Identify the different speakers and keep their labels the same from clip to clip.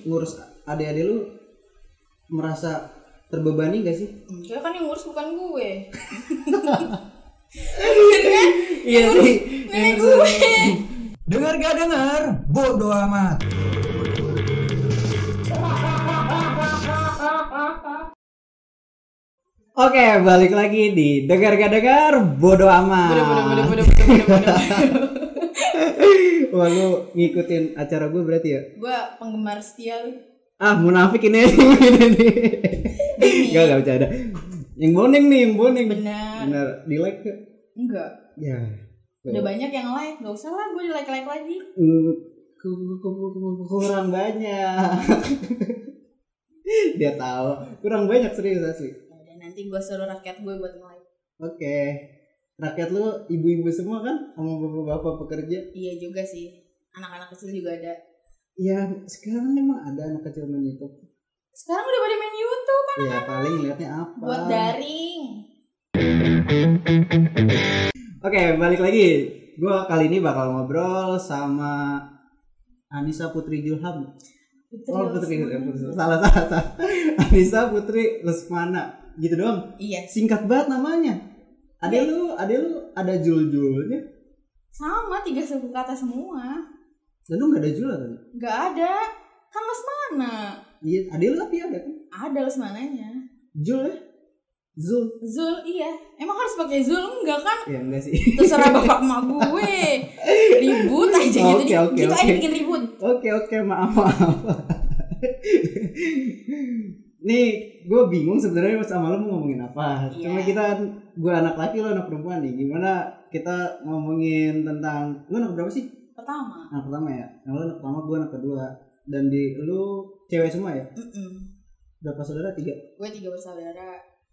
Speaker 1: ngurus adik-adik lu merasa terbebani gak sih?
Speaker 2: Ya kan yang ngurus bukan gue.
Speaker 1: Iya sih.
Speaker 2: Nenek gue.
Speaker 3: Dengar gak dengar? Bodoh amat.
Speaker 1: Oke, balik lagi di dengar gak dengar bodoh amat.
Speaker 2: Bodoh, bodoh, bodoh, bodoh, bodoh, bodoh, bodoh.
Speaker 1: Wah lu ngikutin acara gue berarti ya?
Speaker 2: Gue penggemar setia lu.
Speaker 1: Ah munafik ini ini nih.
Speaker 2: Demi.
Speaker 1: Gak gak bercanda. Yang boning nih, yang boning.
Speaker 2: Benar.
Speaker 1: Bener. Di like gak?
Speaker 2: Enggak.
Speaker 1: Ya.
Speaker 2: Udah banyak yang like. Gak usah lah gue di like like lagi.
Speaker 1: Hmm, ku- ku- ku- ku- kurang banyak. Dia tahu kurang banyak serius asli.
Speaker 2: Dan nanti gue suruh rakyat gue buat like.
Speaker 1: Oke. Rakyat lu ibu-ibu semua kan sama bapak-bapak pekerja.
Speaker 2: Iya juga sih. Anak-anak kecil juga ada.
Speaker 1: Ya sekarang emang ada anak kecil main YouTube.
Speaker 2: Sekarang udah pada main YouTube.
Speaker 1: Ya paling liatnya apa?
Speaker 2: Buat daring.
Speaker 1: Oke, balik lagi. Gua kali ini bakal ngobrol sama Anissa Putri Julham. Oh, Putri Julham. Salah, salah, salah. Anissa Putri Lesmana. Gitu doang.
Speaker 2: Iya.
Speaker 1: Singkat banget namanya. Ada
Speaker 2: Iya.
Speaker 1: lu, ada lu, ada jul-julnya.
Speaker 2: Sama tiga suku kata semua.
Speaker 1: Dan lu gak ada jul kan?
Speaker 2: Gak ada. Kan lesmana.
Speaker 1: Iya, ada lu tapi ada kan?
Speaker 2: Ada lesmananya.
Speaker 1: Jul ya? Zul.
Speaker 2: Zul iya. Emang harus pakai Zul enggak kan?
Speaker 1: Ya enggak sih.
Speaker 2: Terserah bapak emak gue. Ribut aja gitu.
Speaker 1: Oke, oke,
Speaker 2: gitu aja
Speaker 1: oke.
Speaker 2: bikin ribut.
Speaker 1: Oke, oke, maaf, maaf. Nih, gue bingung sebenarnya sama lo mau ngomongin apa. Cuma
Speaker 2: Iya.
Speaker 1: kita, gue anak laki, lo anak perempuan nih. Gimana kita ngomongin tentang, lo anak berapa sih?
Speaker 2: Pertama.
Speaker 1: Anak pertama ya? Nah, lo anak pertama, gue anak kedua. Dan di lo cewek semua ya?
Speaker 2: Mm-mm.
Speaker 1: Berapa saudara? Tiga.
Speaker 2: Gue tiga bersaudara.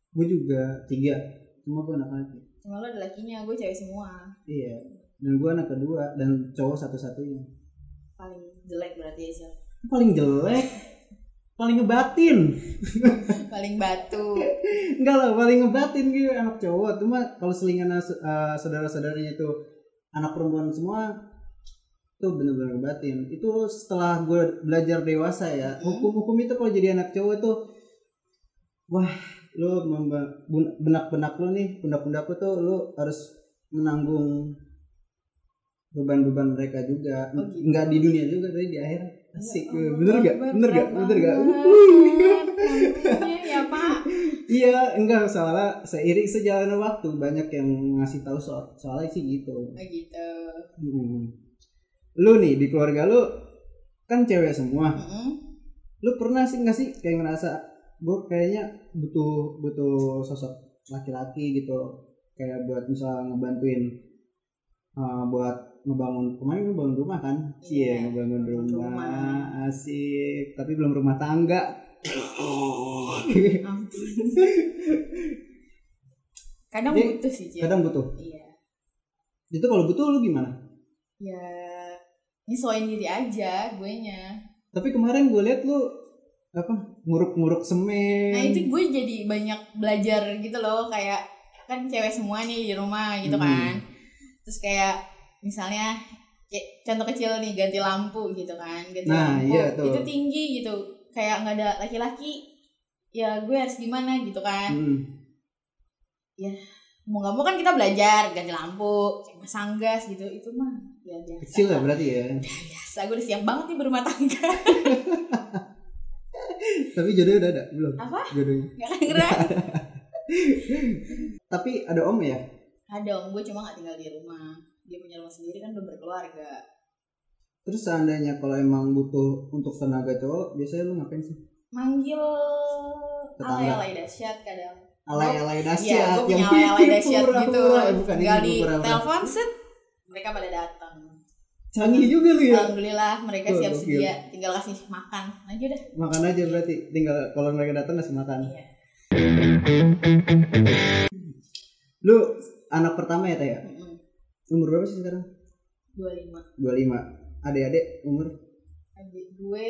Speaker 1: Gue juga tiga. Cuma gue anak laki.
Speaker 2: Cuma lo ada lakinya, gue cewek semua.
Speaker 1: Iya. Dan gue anak kedua dan cowok satu-satunya.
Speaker 2: Paling jelek berarti ya Zul.
Speaker 1: Paling jelek, paling ngebatin.
Speaker 2: Paling batu.
Speaker 1: Enggak lah, paling ngebatin gitu anak cowok. Cuma kalau selingan eh, saudara-saudaranya itu anak perempuan semua itu bener-bener ngebatin. Itu setelah gue belajar dewasa ya,
Speaker 2: Hmm.
Speaker 1: hukum-hukum itu kalau jadi anak cowok itu wah, lu memba- bun- benak-benak lu nih, pundak-pundak lu tuh lu harus menanggung beban-beban mereka juga.
Speaker 2: Oh, gitu.
Speaker 1: Enggak di dunia juga, tapi di akhirat. Asik,
Speaker 2: Ya Allah,
Speaker 1: bener gak?
Speaker 2: berat
Speaker 1: Bener gak? Bener gak?
Speaker 2: banget. Namanya ya pak.
Speaker 1: Iya, enggak salah. Seiring sejalannya waktu banyak yang ngasih tahu soal soalnya sih gitu.
Speaker 2: Oh, gitu.
Speaker 1: Hmm. Lu nih di keluarga lu kan cewek semua.
Speaker 2: Mm-mm.
Speaker 1: Lu pernah sih nggak sih kayak ngerasa gue kayaknya butuh butuh sosok laki-laki gitu kayak buat misalnya ngebantuin uh, buat ngebangun kemarin lu bangun rumah kan?
Speaker 2: Iya,
Speaker 1: Iya, ngebangun
Speaker 2: bangun
Speaker 1: rumah.
Speaker 2: rumah.
Speaker 1: Asik, tapi belum rumah tangga.
Speaker 2: Ampun. Kadang
Speaker 1: Jadi,
Speaker 2: butuh sih Jen.
Speaker 1: Kadang butuh.
Speaker 2: Iya.
Speaker 1: Itu kalau butuh lu gimana?
Speaker 2: Ya nyesuaiin diri aja gue nya.
Speaker 1: Tapi kemarin gue liat lu apa nguruk-nguruk semen.
Speaker 2: Nah itu gue jadi banyak belajar gitu loh kayak kan cewek semua nih di rumah gitu
Speaker 1: Hmm.
Speaker 2: kan. Terus kayak misalnya kayak contoh kecil nih ganti lampu gitu kan, ganti
Speaker 1: Nah,
Speaker 2: lampu
Speaker 1: iya tuh.
Speaker 2: itu tinggi gitu kayak nggak ada laki-laki ya gue harus gimana gitu kan
Speaker 1: Hmm. Mm.
Speaker 2: mau nggak mau kan kita belajar ganti lampu kayak masang gas gitu itu mah ya biasa
Speaker 1: Kecil ya berarti ya.
Speaker 2: biasa gue udah siap banget nih berumah tangga
Speaker 1: Tapi jodohnya udah ada belum?
Speaker 2: Apa?
Speaker 1: Jodohnya.
Speaker 2: nggak kan gerak
Speaker 1: Tapi ada om ya.
Speaker 2: ada om gue cuma nggak tinggal di rumah dia punya rumah sendiri kan belum berkeluarga
Speaker 1: Terus seandainya kalau emang butuh untuk tenaga cowok, biasanya lu ngapain sih?
Speaker 2: manggil
Speaker 1: Tetangga.
Speaker 2: alay alay dahsyat kadang
Speaker 1: Alay-alay
Speaker 2: Iya,
Speaker 1: dahsyat
Speaker 2: gue punya alay alay dahsyat
Speaker 1: pura-pura.
Speaker 2: gitu
Speaker 1: Eh, bukan ini
Speaker 2: tinggal di
Speaker 1: pura-pura.
Speaker 2: telepon set mereka pada datang
Speaker 1: Canggih juga lu ya.
Speaker 2: alhamdulillah mereka
Speaker 1: Tuh,
Speaker 2: siap
Speaker 1: gokil.
Speaker 2: sedia tinggal kasih makan aja dah
Speaker 1: Makan aja berarti. Tinggal kalau mereka datang ngasih makan.
Speaker 2: iya
Speaker 1: Lu anak pertama ya, Taya?
Speaker 2: Mm-mm.
Speaker 1: Umur berapa sih sekarang?
Speaker 2: 25
Speaker 1: 25. Adik-adik umur
Speaker 2: adik gue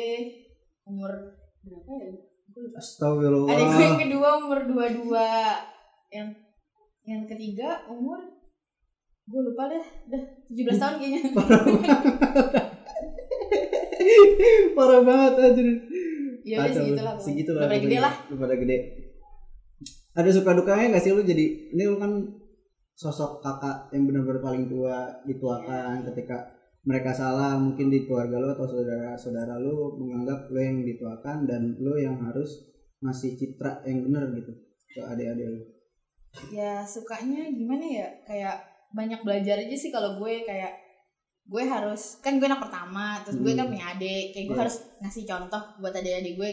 Speaker 2: umur berapa ya Gue lupa.
Speaker 1: Astagfirullah.
Speaker 2: adik gue yang kedua umur 22 yang yang ketiga umur gue lupa deh dah 17 tahun kayaknya
Speaker 1: Parah banget anjir.
Speaker 2: ya udah
Speaker 1: Kacau.
Speaker 2: segitulah
Speaker 1: Segitulah
Speaker 2: pokoknya. udah pada gede
Speaker 1: pokoknya.
Speaker 2: lah
Speaker 1: Udah pada gede. Ada suka dukanya gak sih lu jadi ini lu kan sosok kakak yang benar-benar paling tua dituakan ketika mereka salah mungkin di keluarga lu atau saudara-saudara lu menganggap lu yang dituakan dan lu yang harus ngasih citra yang benar gitu ke adik-adik lu.
Speaker 2: ya sukanya gimana ya kayak banyak belajar aja sih kalau gue kayak gue harus kan gue anak pertama terus gue
Speaker 1: Hmm.
Speaker 2: kan punya adik kayak gue
Speaker 1: Iya.
Speaker 2: harus ngasih contoh buat adik-adik gue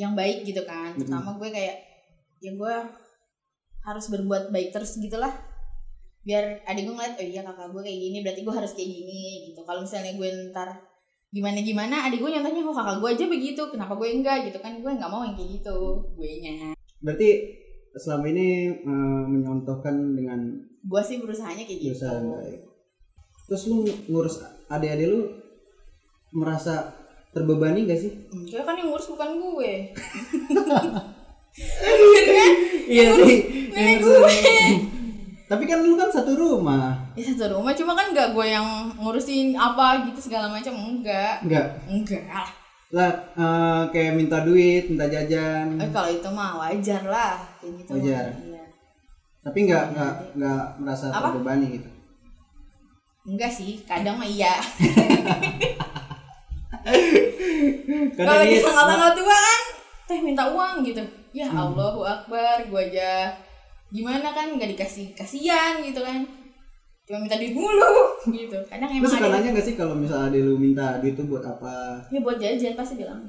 Speaker 2: yang baik gitu kan
Speaker 1: Mm-mm.
Speaker 2: pertama gue kayak ya gue harus berbuat baik terus gitulah biar adik gue ngeliat oh iya kakak gue kayak gini berarti gue harus kayak gini gitu kalau misalnya gue ntar gimana gimana adik gue nyontohnya oh kakak gue aja begitu kenapa gue enggak gitu kan gue nggak mau yang kayak gitu gue nya
Speaker 1: Berarti selama ini eh, menyontohkan dengan
Speaker 2: gue sih berusahanya kayak gitu
Speaker 1: Berusaha yang baik. Terus lu ngurus adik-adik lu merasa terbebani gak sih?
Speaker 2: Hmm, Soalnya kan yang ngurus bukan gue.
Speaker 1: Iya
Speaker 2: Ngurus
Speaker 1: sih.
Speaker 2: nenek
Speaker 1: ngurus- Tapi kan lu kan satu rumah.
Speaker 2: Ya satu rumah cuma kan gak gue yang ngurusin apa gitu segala macam enggak.
Speaker 1: Enggak.
Speaker 2: Enggak lah.
Speaker 1: Lah eh, kayak minta duit, minta jajan.
Speaker 2: Eh, kalau itu mah wajar lah kayak gitu. mah.
Speaker 1: Wajar.
Speaker 2: Iya.
Speaker 1: Tapi enggak enggak enggak merasa
Speaker 2: Apa?
Speaker 1: terbebani gitu.
Speaker 2: Enggak sih, kadang mah iya.
Speaker 1: Kadang
Speaker 2: Kalau lagi
Speaker 1: iya,
Speaker 2: tanggal-tanggal tua kan teh minta uang gitu. Ya
Speaker 1: Hmm.
Speaker 2: Allahu Akbar, gue aja gimana kan nggak dikasih kasihan gitu kan. Cuma minta duit mulu gitu. Kadang
Speaker 1: Lu
Speaker 2: emang
Speaker 1: suka
Speaker 2: ada
Speaker 1: nanya gak sih kalau misalnya adik lu minta duit itu buat apa?
Speaker 2: ya buat jajan pasti bilang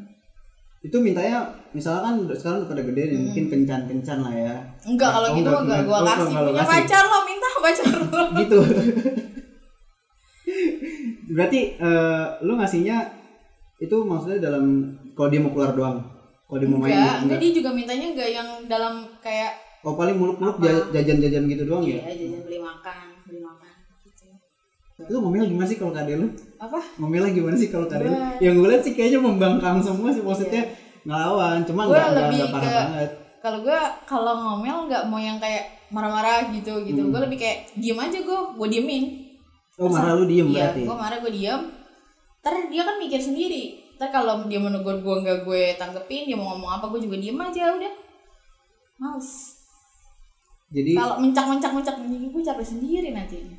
Speaker 1: Itu mintanya misalkan udah- sekarang udah pada gede
Speaker 2: Hmm.
Speaker 1: nih, mungkin kencan-kencan lah ya.
Speaker 2: Enggak kalau
Speaker 1: Oh,
Speaker 2: gitu
Speaker 1: enggak,
Speaker 2: mah enggak
Speaker 1: enggak.
Speaker 2: gua
Speaker 1: Oh,
Speaker 2: kasih
Speaker 1: enggak lo
Speaker 2: punya
Speaker 1: kasih.
Speaker 2: pacar lo minta pacar lo.
Speaker 1: gitu berarti eh, lu ngasihnya itu maksudnya dalam kalau dia mau keluar doang kalau dia mau main
Speaker 2: Enggak,
Speaker 1: gitu,
Speaker 2: enggak
Speaker 1: enggak.
Speaker 2: dia juga mintanya enggak yang dalam kayak
Speaker 1: oh paling muluk-muluk
Speaker 2: Apa?
Speaker 1: ja- jajan-jajan gitu doang
Speaker 2: iya
Speaker 1: ya
Speaker 2: jajan beli makan, beli makan gitu.
Speaker 1: lu ngomel gimana sih kalau kade lu
Speaker 2: Apa?
Speaker 1: ngomelnya gimana sih kalau kade lu
Speaker 2: Gua- Iya.
Speaker 1: yang gue lihat sih kayaknya membangkang semua sih maksudnya ngelawan cuma
Speaker 2: Gua
Speaker 1: nggak nggak
Speaker 2: lebih
Speaker 1: nggak parah
Speaker 2: ke-
Speaker 1: banget
Speaker 2: Kalau gua kalau ngomel enggak mau yang kayak marah-marah gitu
Speaker 1: Hmm.
Speaker 2: gitu. Gua lebih kayak diem aja gua, gua diemin.
Speaker 1: oh marah lu diem
Speaker 2: Iya,
Speaker 1: berarti
Speaker 2: gua marah gua diem. Ntar dia kan mikir sendiri. Ntar kalau dia mau negur gua enggak gue tanggepin, dia mau ngomong apa gua juga diem aja udah. Males.
Speaker 1: jadi
Speaker 2: Kalau mencak-mencak-mencak gue capek sendiri nantinya.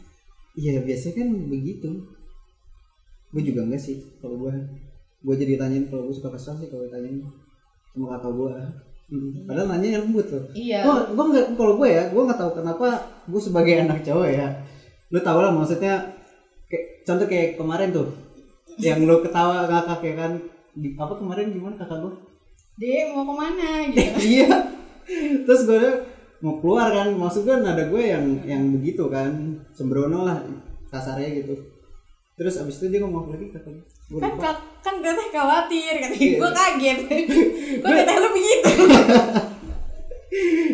Speaker 1: Iya biasanya kan begitu. Gue juga enggak sih kalau gue. Gue jadi tanyain kalau gue suka kesal sih kalau ditanyain sama kakak gue. Padahal nanya lembut loh.
Speaker 2: Iya.
Speaker 1: Gue gue nggak kalau gue ya gue nggak tahu kenapa gue sebagai anak cowok ya. Lu tau lah maksudnya kayak contoh kayak kemarin tuh yang lu ketawa kakak ya kan Di- apa kemarin gimana kakak gue?
Speaker 2: Dek mau kemana gitu
Speaker 1: iya terus gue mau keluar kan maksud gue nada gue yang yang begitu kan sembrono lah kasarnya gitu terus abis itu dia ngomong apa lagi kata gue Gua
Speaker 2: kan
Speaker 1: lupa.
Speaker 2: ka- kan gue teh khawatir kata
Speaker 1: Iya.
Speaker 2: gue kaget gue teh lu begitu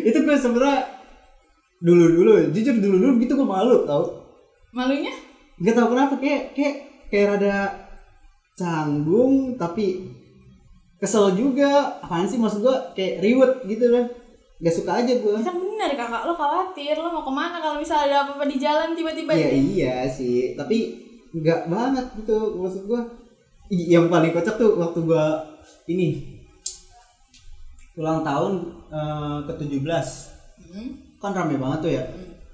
Speaker 1: itu gue sebenernya dulu dulu jujur dulu dulu gitu gue malu tau
Speaker 2: malunya
Speaker 1: nggak tahu kenapa kayak kayak kayak rada canggung tapi kesel juga apaan sih maksud gue kayak riwet gitu lah gak suka aja gue
Speaker 2: kan bener kakak lo khawatir lo mau kemana kalau misalnya ada apa-apa di jalan tiba-tiba
Speaker 1: Iya
Speaker 2: gitu.
Speaker 1: iya sih, tapi nggak banget gitu maksud gua. i- Yang paling kocak tuh waktu gua ini ulang tahun eh, ke-17.
Speaker 2: Hmm.
Speaker 1: Kan rame banget tuh ya.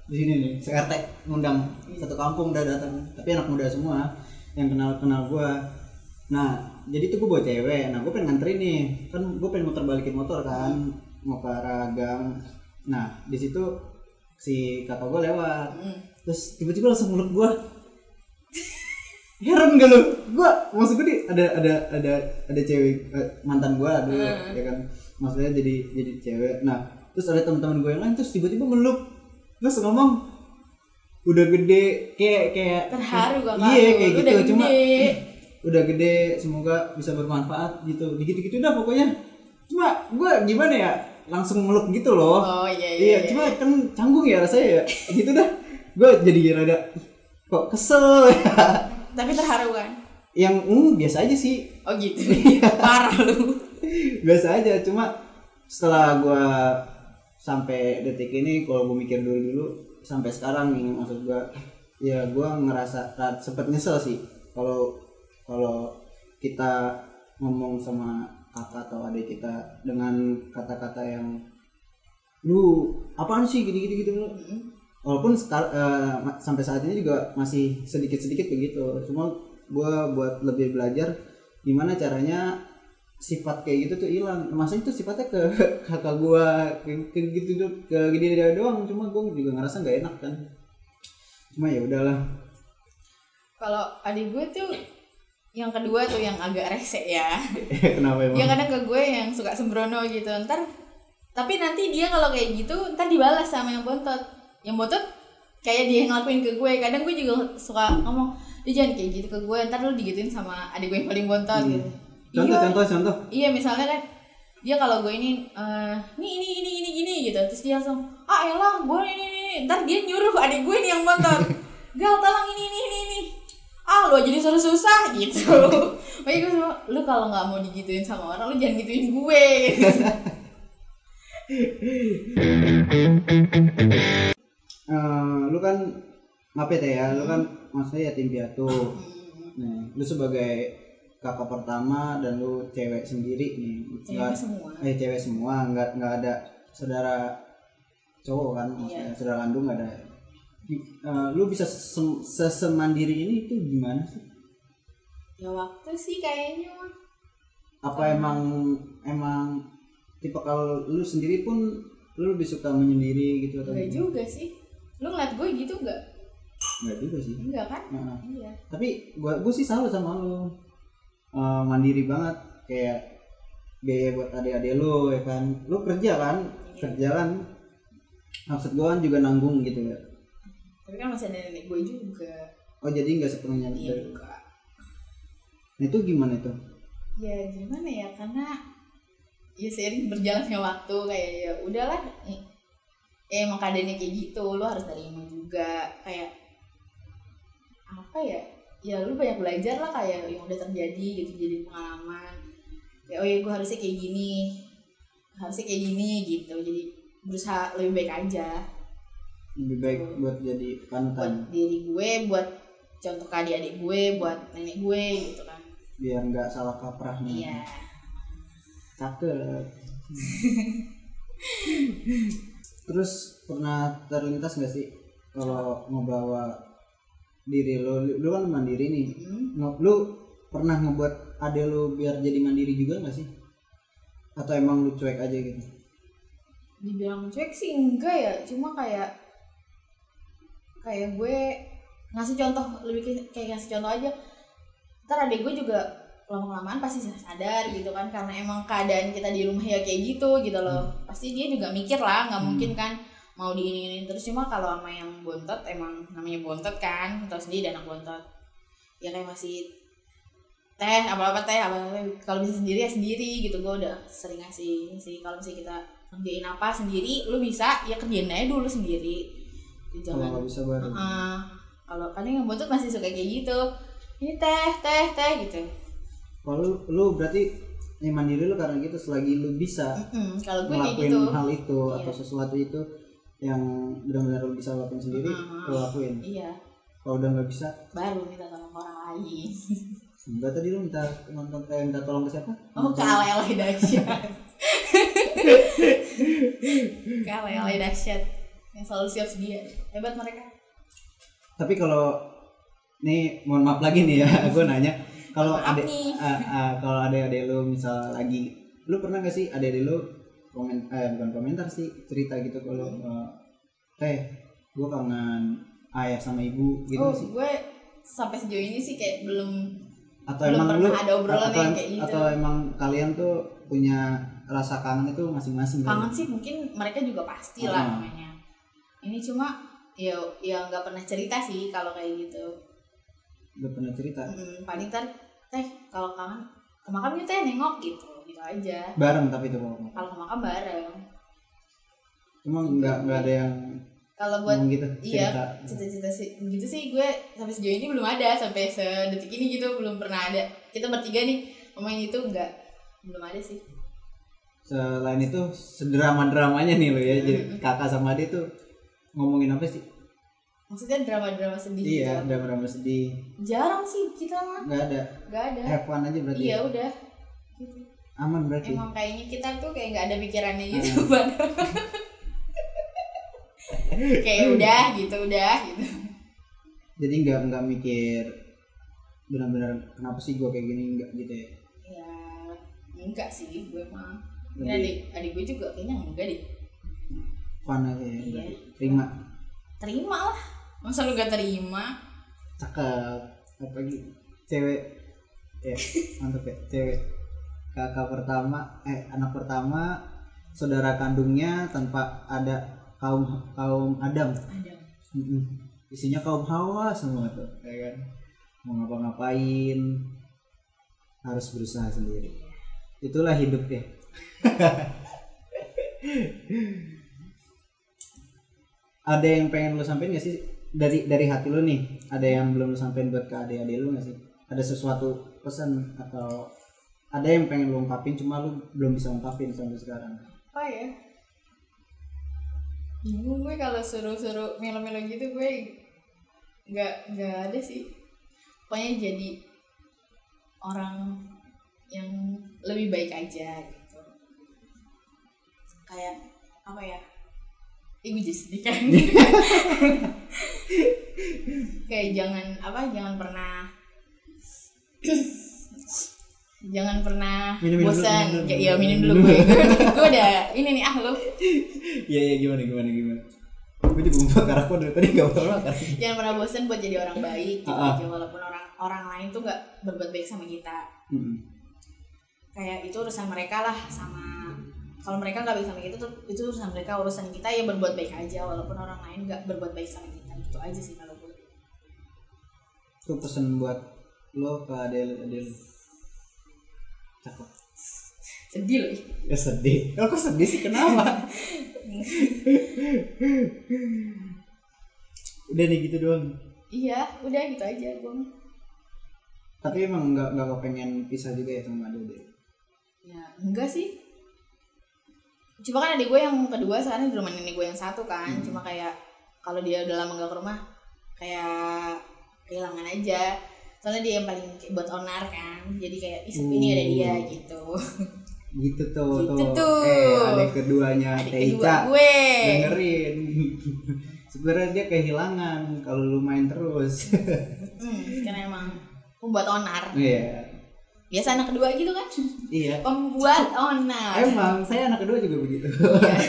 Speaker 1: Di sini nih, CRT ngundang satu kampung udah datang, tapi anak muda semua yang kenal-kenal gua. Nah, jadi tuh gua bawa cewek. Nah, gua pengen nganterin nih. Kan gua pengen muter balikin motor kan, mau ke arah gang. Nah, di situ si kakak gua lewat
Speaker 2: Hmm.
Speaker 1: terus tiba-tiba langsung meluk gua heran gak lu gua maksud gue nih ada ada ada ada cewek eh, mantan gua dulu
Speaker 2: Hmm.
Speaker 1: ya kan maksudnya jadi jadi cewek nah terus ada teman-teman gue yang lain terus tiba-tiba meluk terus ngomong udah gede kayak kayak
Speaker 2: Terharu kakak
Speaker 1: iya
Speaker 2: lu,
Speaker 1: kayak
Speaker 2: lu
Speaker 1: gitu
Speaker 2: udah
Speaker 1: cuma
Speaker 2: gede.
Speaker 1: "Ih, udah gede semoga bisa bermanfaat gitu gitu-gitu dah pokoknya cuma gua gimana ya langsung meluk gitu loh
Speaker 2: oh iya iya,
Speaker 1: Iya,
Speaker 2: iya.
Speaker 1: cuma kan canggung ya rasanya ya. Gitu dah. Gue jadi rada "Ih, kok kesel.
Speaker 2: tapi terharu kan
Speaker 1: Yang mm, biasa aja sih.
Speaker 2: oh gitu
Speaker 1: Iya.
Speaker 2: parah lu
Speaker 1: Biasa aja, cuma setelah gua sampai detik ini kalau gue mikir dulu dulu sampai sekarang nih maksud gua ya gua ngerasa ra- sempet nyesel sih kalau kalau kita ngomong sama kakak atau adik kita dengan kata-kata yang lu apaan sih gini gini gitu
Speaker 2: Mm-mm.
Speaker 1: walaupun sekal- eh, ma- sampai saat ini juga masih sedikit sedikit begitu cuma gua buat lebih belajar gimana caranya sifat kayak gitu tuh hilang maksudnya itu sifatnya ke kakak gua ke, ke gitu tuh ke gini dia doang cuma gua juga ngerasa nggak enak kan cuma ya udahlah
Speaker 2: Kalau adik gue tuh yang kedua tuh yang agak rese ya.
Speaker 1: kenapa emang
Speaker 2: Ya kadang ke gue yang suka sembrono gitu. Ntar tapi nanti dia kalau kayak gitu ntar dibalas sama yang bontot. Yang bontot kayak dia yang ngelakuin ke gue. Kadang gue juga suka ngomong, "Lu jangan kayak gitu ke gue, ntar lu digituin sama adik gue yang paling bontot."
Speaker 1: Hmm.
Speaker 2: gitu.
Speaker 1: contoh
Speaker 2: Iya,
Speaker 1: contoh contoh
Speaker 2: Iya misalnya kan dia kalau gue ini eh ini ini ini ini gini gitu terus dia langsung ah elah gue ini ini ini." ntar dia nyuruh adik gue nih yang motor gal tolong ini ini ini ini ah lu jadi suruh susah gitu makanya gue sama lu kalau nggak mau digituin sama orang lu jangan gituin gue
Speaker 1: Eh, lu kan maaf ya Teh, ya lu kan maksudnya yatim piatu Nah,
Speaker 2: Hmm,
Speaker 1: lu sebagai kakak pertama dan lu cewek sendiri nih,
Speaker 2: cewek
Speaker 1: nggak
Speaker 2: semua
Speaker 1: eh cewek semua, nggak nggak ada saudara cowok kan,
Speaker 2: Iya.
Speaker 1: maksudnya saudara kandung nggak ada. Di- eh, lu bisa sesem- sesemandiri ini itu gimana sih?
Speaker 2: ya waktu sih kayaknya mah
Speaker 1: Apa emang emang tipe kalau lu sendiri pun lu lebih suka menyendiri gitu atau
Speaker 2: enggak
Speaker 1: gimana?
Speaker 2: juga sih lu ngeliat gue gitu nggak
Speaker 1: Nggak juga sih.
Speaker 2: enggak kan
Speaker 1: Nah,
Speaker 2: iya
Speaker 1: tapi gua gua sih salut sama lu Eh, mandiri banget kayak biaya buat adik-adik lu ya kan lu kerja kan
Speaker 2: Iya.
Speaker 1: kerja kan maksud gua kan juga nanggung gitu ya
Speaker 2: tapi kan masih ada nenek gue juga
Speaker 1: oh jadi nggak sepenuhnya
Speaker 2: iya
Speaker 1: dari-
Speaker 2: juga
Speaker 1: nah, itu gimana itu
Speaker 2: ya gimana ya karena ya seiring berjalannya waktu kayak ya udahlah eh, eh, emang keadaannya kayak gitu lu harus terima juga kayak apa ya ya lu banyak belajar lah kayak yang udah terjadi gitu jadi pengalaman kayak oh ya gue harusnya kayak gini harusnya kayak gini gitu jadi berusaha lebih baik aja
Speaker 1: lebih baik
Speaker 2: Hmm.
Speaker 1: buat jadi
Speaker 2: buat
Speaker 1: panutan
Speaker 2: diri gue buat contoh ke adik-adik gue buat nenek gue gitu kan
Speaker 1: biar nggak salah kaprah nih
Speaker 2: iya
Speaker 1: cakep terus pernah terlintas nggak sih kalau ngebawa diri lo lu kan mandiri nih
Speaker 2: Mm.
Speaker 1: Nge- lu pernah ngebuat ade lu biar jadi mandiri juga gak sih? Atau emang lu cuek aja gitu?
Speaker 2: dibilang cuek sih enggak ya cuma kayak kayak gue ngasih contoh lebih ke- kayak ngasih contoh aja ntar adik gue juga lama kelamaan pasti sadar gitu kan karena emang keadaan kita di rumah ya kayak gitu gitu loh pasti dia juga mikir lah nggak
Speaker 1: Hmm.
Speaker 2: mungkin kan mau diinin terus cuma kalau sama yang bontot emang namanya bontot kan terus dia anak bontot ya kayak masih teh apa apa teh apa apa kalau bisa sendiri ya sendiri gitu gue udah sering ngasih ini sih kalau misalnya kita kerjain apa sendiri lu bisa ya kerjain aja dulu sendiri
Speaker 1: Kalau
Speaker 2: jangan
Speaker 1: nggak bisa baru.
Speaker 2: Heeh. kalau kan yang bontot masih suka kayak gitu ini teh teh teh gitu
Speaker 1: Kalau lu, lu berarti yang mandiri lu karena gitu selagi lu bisa
Speaker 2: Mm-mm, kalau gue kayak
Speaker 1: ngelakuin
Speaker 2: gitu
Speaker 1: hal itu
Speaker 2: Iya.
Speaker 1: atau sesuatu itu yang benar-benar lu bisa lakuin sendiri,
Speaker 2: Heeh.
Speaker 1: lu lakuin.
Speaker 2: iya
Speaker 1: Kalau udah nggak bisa,
Speaker 2: baru minta tolong ke orang lain
Speaker 1: enggak tadi lu minta nonton eh, minta tolong ke siapa?
Speaker 2: oh
Speaker 1: Nonton-
Speaker 2: ke alay dahsyat ke alay dahsyat yang selalu siap sedia hebat mereka
Speaker 1: Tapi kalau nih mohon maaf lagi nih ya, gue nanya kalau
Speaker 2: Maaf
Speaker 1: ade
Speaker 2: nih.
Speaker 1: Ah, ah, kalau ada ada lu misal lagi lu pernah gak sih ada lu komen eh bukan komentar sih cerita gitu kalau
Speaker 2: Hmm.
Speaker 1: eh, teh gue kangen ayah sama ibu gitu
Speaker 2: oh
Speaker 1: sih
Speaker 2: gue sampai sejauh ini sih kayak belum
Speaker 1: atau
Speaker 2: belum
Speaker 1: emang lu
Speaker 2: pernah ada obrolan
Speaker 1: Nah, atau,
Speaker 2: yang kayak gitu
Speaker 1: atau emang kalian tuh punya rasa kangen itu masing-masing gitu?
Speaker 2: kangen sih mungkin mereka juga pasti lah
Speaker 1: Hmm.
Speaker 2: namanya ini cuma ya ya nggak pernah cerita sih kalau kayak gitu
Speaker 1: Udah pernah cerita
Speaker 2: Mm, paling ntar teh kalau kangen ke makam yuk, teh nengok gitu gitu aja
Speaker 1: bareng tapi itu kalau
Speaker 2: kalau ke makam bareng
Speaker 1: cuma nggak nggak ada yang
Speaker 2: kalau buat
Speaker 1: ngomong gitu
Speaker 2: iya,
Speaker 1: cerita
Speaker 2: cita-cita sih gitu sih gue sampai sejauh ini belum ada sampai sedetik ini gitu belum pernah ada kita bertiga nih ngomongin itu enggak belum ada sih
Speaker 1: selain itu sedrama dramanya nih lo ya jadi
Speaker 2: Mm-mm.
Speaker 1: kakak sama adik tuh ngomongin apa sih
Speaker 2: maksudnya drama-drama sedih
Speaker 1: iya
Speaker 2: gitu
Speaker 1: drama-drama sedih
Speaker 2: jarang sih kita mah
Speaker 1: nggak ada
Speaker 2: nggak ada
Speaker 1: have fun aja berarti ya?
Speaker 2: iya udah gitu.
Speaker 1: aman berarti
Speaker 2: emang kayaknya kita tuh kayak nggak ada pikirannya gitu padahal kayak udah gitu udah gitu
Speaker 1: jadi nggak nggak mikir benar-benar kenapa sih gue kayak gini nggak gitu ya
Speaker 2: ya enggak sih gue mah Ini
Speaker 1: lebih
Speaker 2: adik adik gue juga kayaknya enggak deh
Speaker 1: fun aja ya
Speaker 2: Iya.
Speaker 1: berarti. terima
Speaker 2: terima lah masa lu gak terima
Speaker 1: cakep apa gitu cewek ya mantep ya cewek kakak pertama eh anak pertama saudara kandungnya tanpa ada kaum kaum Adam
Speaker 2: ada
Speaker 1: Mm-mm. isinya kaum Hawa semua tuh ya kan mau ngapa-ngapain harus berusaha sendiri itulah hidup ya ada yang pengen lo sampein gak sih dari dari hati lo nih ada yang belum lo sampein buat ke adik-adik lo gak sih ada sesuatu pesan atau ada yang pengen lo ungkapin cuma lo belum bisa ungkapin sampai sekarang
Speaker 2: apa ya bingung gue kalau suruh-suruh melo-melo gitu gue nggak nggak ada sih pokoknya jadi orang yang lebih baik aja gitu kayak apa ya Ih, gue jadi sedih kan kayak jangan apa jangan pernah jangan pernah
Speaker 1: Minum, minum dulu,
Speaker 2: bosan
Speaker 1: minum dulu.
Speaker 2: kayak ya minum dulu gue gue udah ini nih ah lo
Speaker 1: Iya iya gimana gimana gimana. Gue juga mau bakar aku dari tadi gak bakar bakar.
Speaker 2: jangan pernah bosan buat jadi orang baik gitu
Speaker 1: Ah, ah.
Speaker 2: aja walaupun orang orang lain tuh nggak berbuat baik sama kita
Speaker 1: Mm-mm.
Speaker 2: kayak itu urusan mereka lah sama kalau mereka nggak baik sama kita tuh itu urusan mereka urusan kita ya berbuat baik aja walaupun orang lain nggak berbuat baik sama kita gitu aja sih kalau gue
Speaker 1: Itu pesen buat lo ke Adel Adel. Cakep.
Speaker 2: sedih loh ih.
Speaker 1: Ya sedih. Lo kok sedih sih kenapa? Udah nih gitu doang.
Speaker 2: iya udah gitu aja gue mah.
Speaker 1: Tapi emang nggak nggak kepengen pisah juga ya sama Adel deh.
Speaker 2: ya enggak sih cuma kan adik gue yang kedua sekarang di rumah nenek gue yang satu kan
Speaker 1: Hmm.
Speaker 2: cuma kayak kalau dia udah lama gak ke rumah kayak kehilangan aja soalnya dia yang paling kayak buat onar kan jadi kayak Ih, ini ada dia
Speaker 1: Hmm.
Speaker 2: gitu
Speaker 1: Gitu tuh
Speaker 2: Gitu
Speaker 1: tuh.
Speaker 2: tuh.
Speaker 1: Eh adek keduanya
Speaker 2: adik kedua Eh.
Speaker 1: Teica.
Speaker 2: gue
Speaker 1: Dengerin. Sebenarnya dia kehilangan kalau lu main terus.
Speaker 2: Hmm, karena emang pembuat onar
Speaker 1: Iya.
Speaker 2: biasa anak kedua gitu kan
Speaker 1: Iya.
Speaker 2: pembuat onar
Speaker 1: Emang saya anak kedua juga begitu.
Speaker 2: Iya.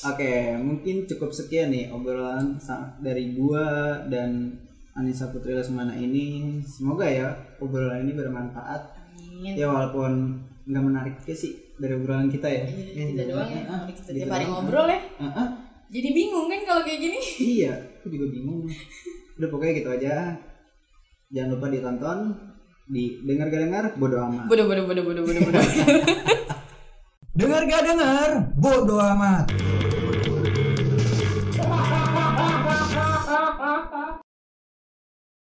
Speaker 1: Oke, mungkin cukup sekian nih obrolan sa- dari gua dan Anissa Putri Lesmana ini. Semoga ya obrolan ini bermanfaat.
Speaker 2: Amin.
Speaker 1: Ya walaupun nggak menarik ya sih dari obrolan kita ya.
Speaker 2: Iya, kita doang ya,
Speaker 1: Ah,
Speaker 2: Kalau kita
Speaker 1: gitu
Speaker 2: tiap hari
Speaker 1: doang.
Speaker 2: ngobrol ya.
Speaker 1: Ah, ah,
Speaker 2: Jadi bingung kan kalau kayak gini.
Speaker 1: iya, aku juga bingung. Udah pokoknya gitu aja. Jangan lupa ditonton, didengar gak dengar, bodo amat.
Speaker 2: Bodoh, bodoh, bodoh, bodoh, bodoh, bodoh.
Speaker 3: Dengar gak dengar? Bodoh amat.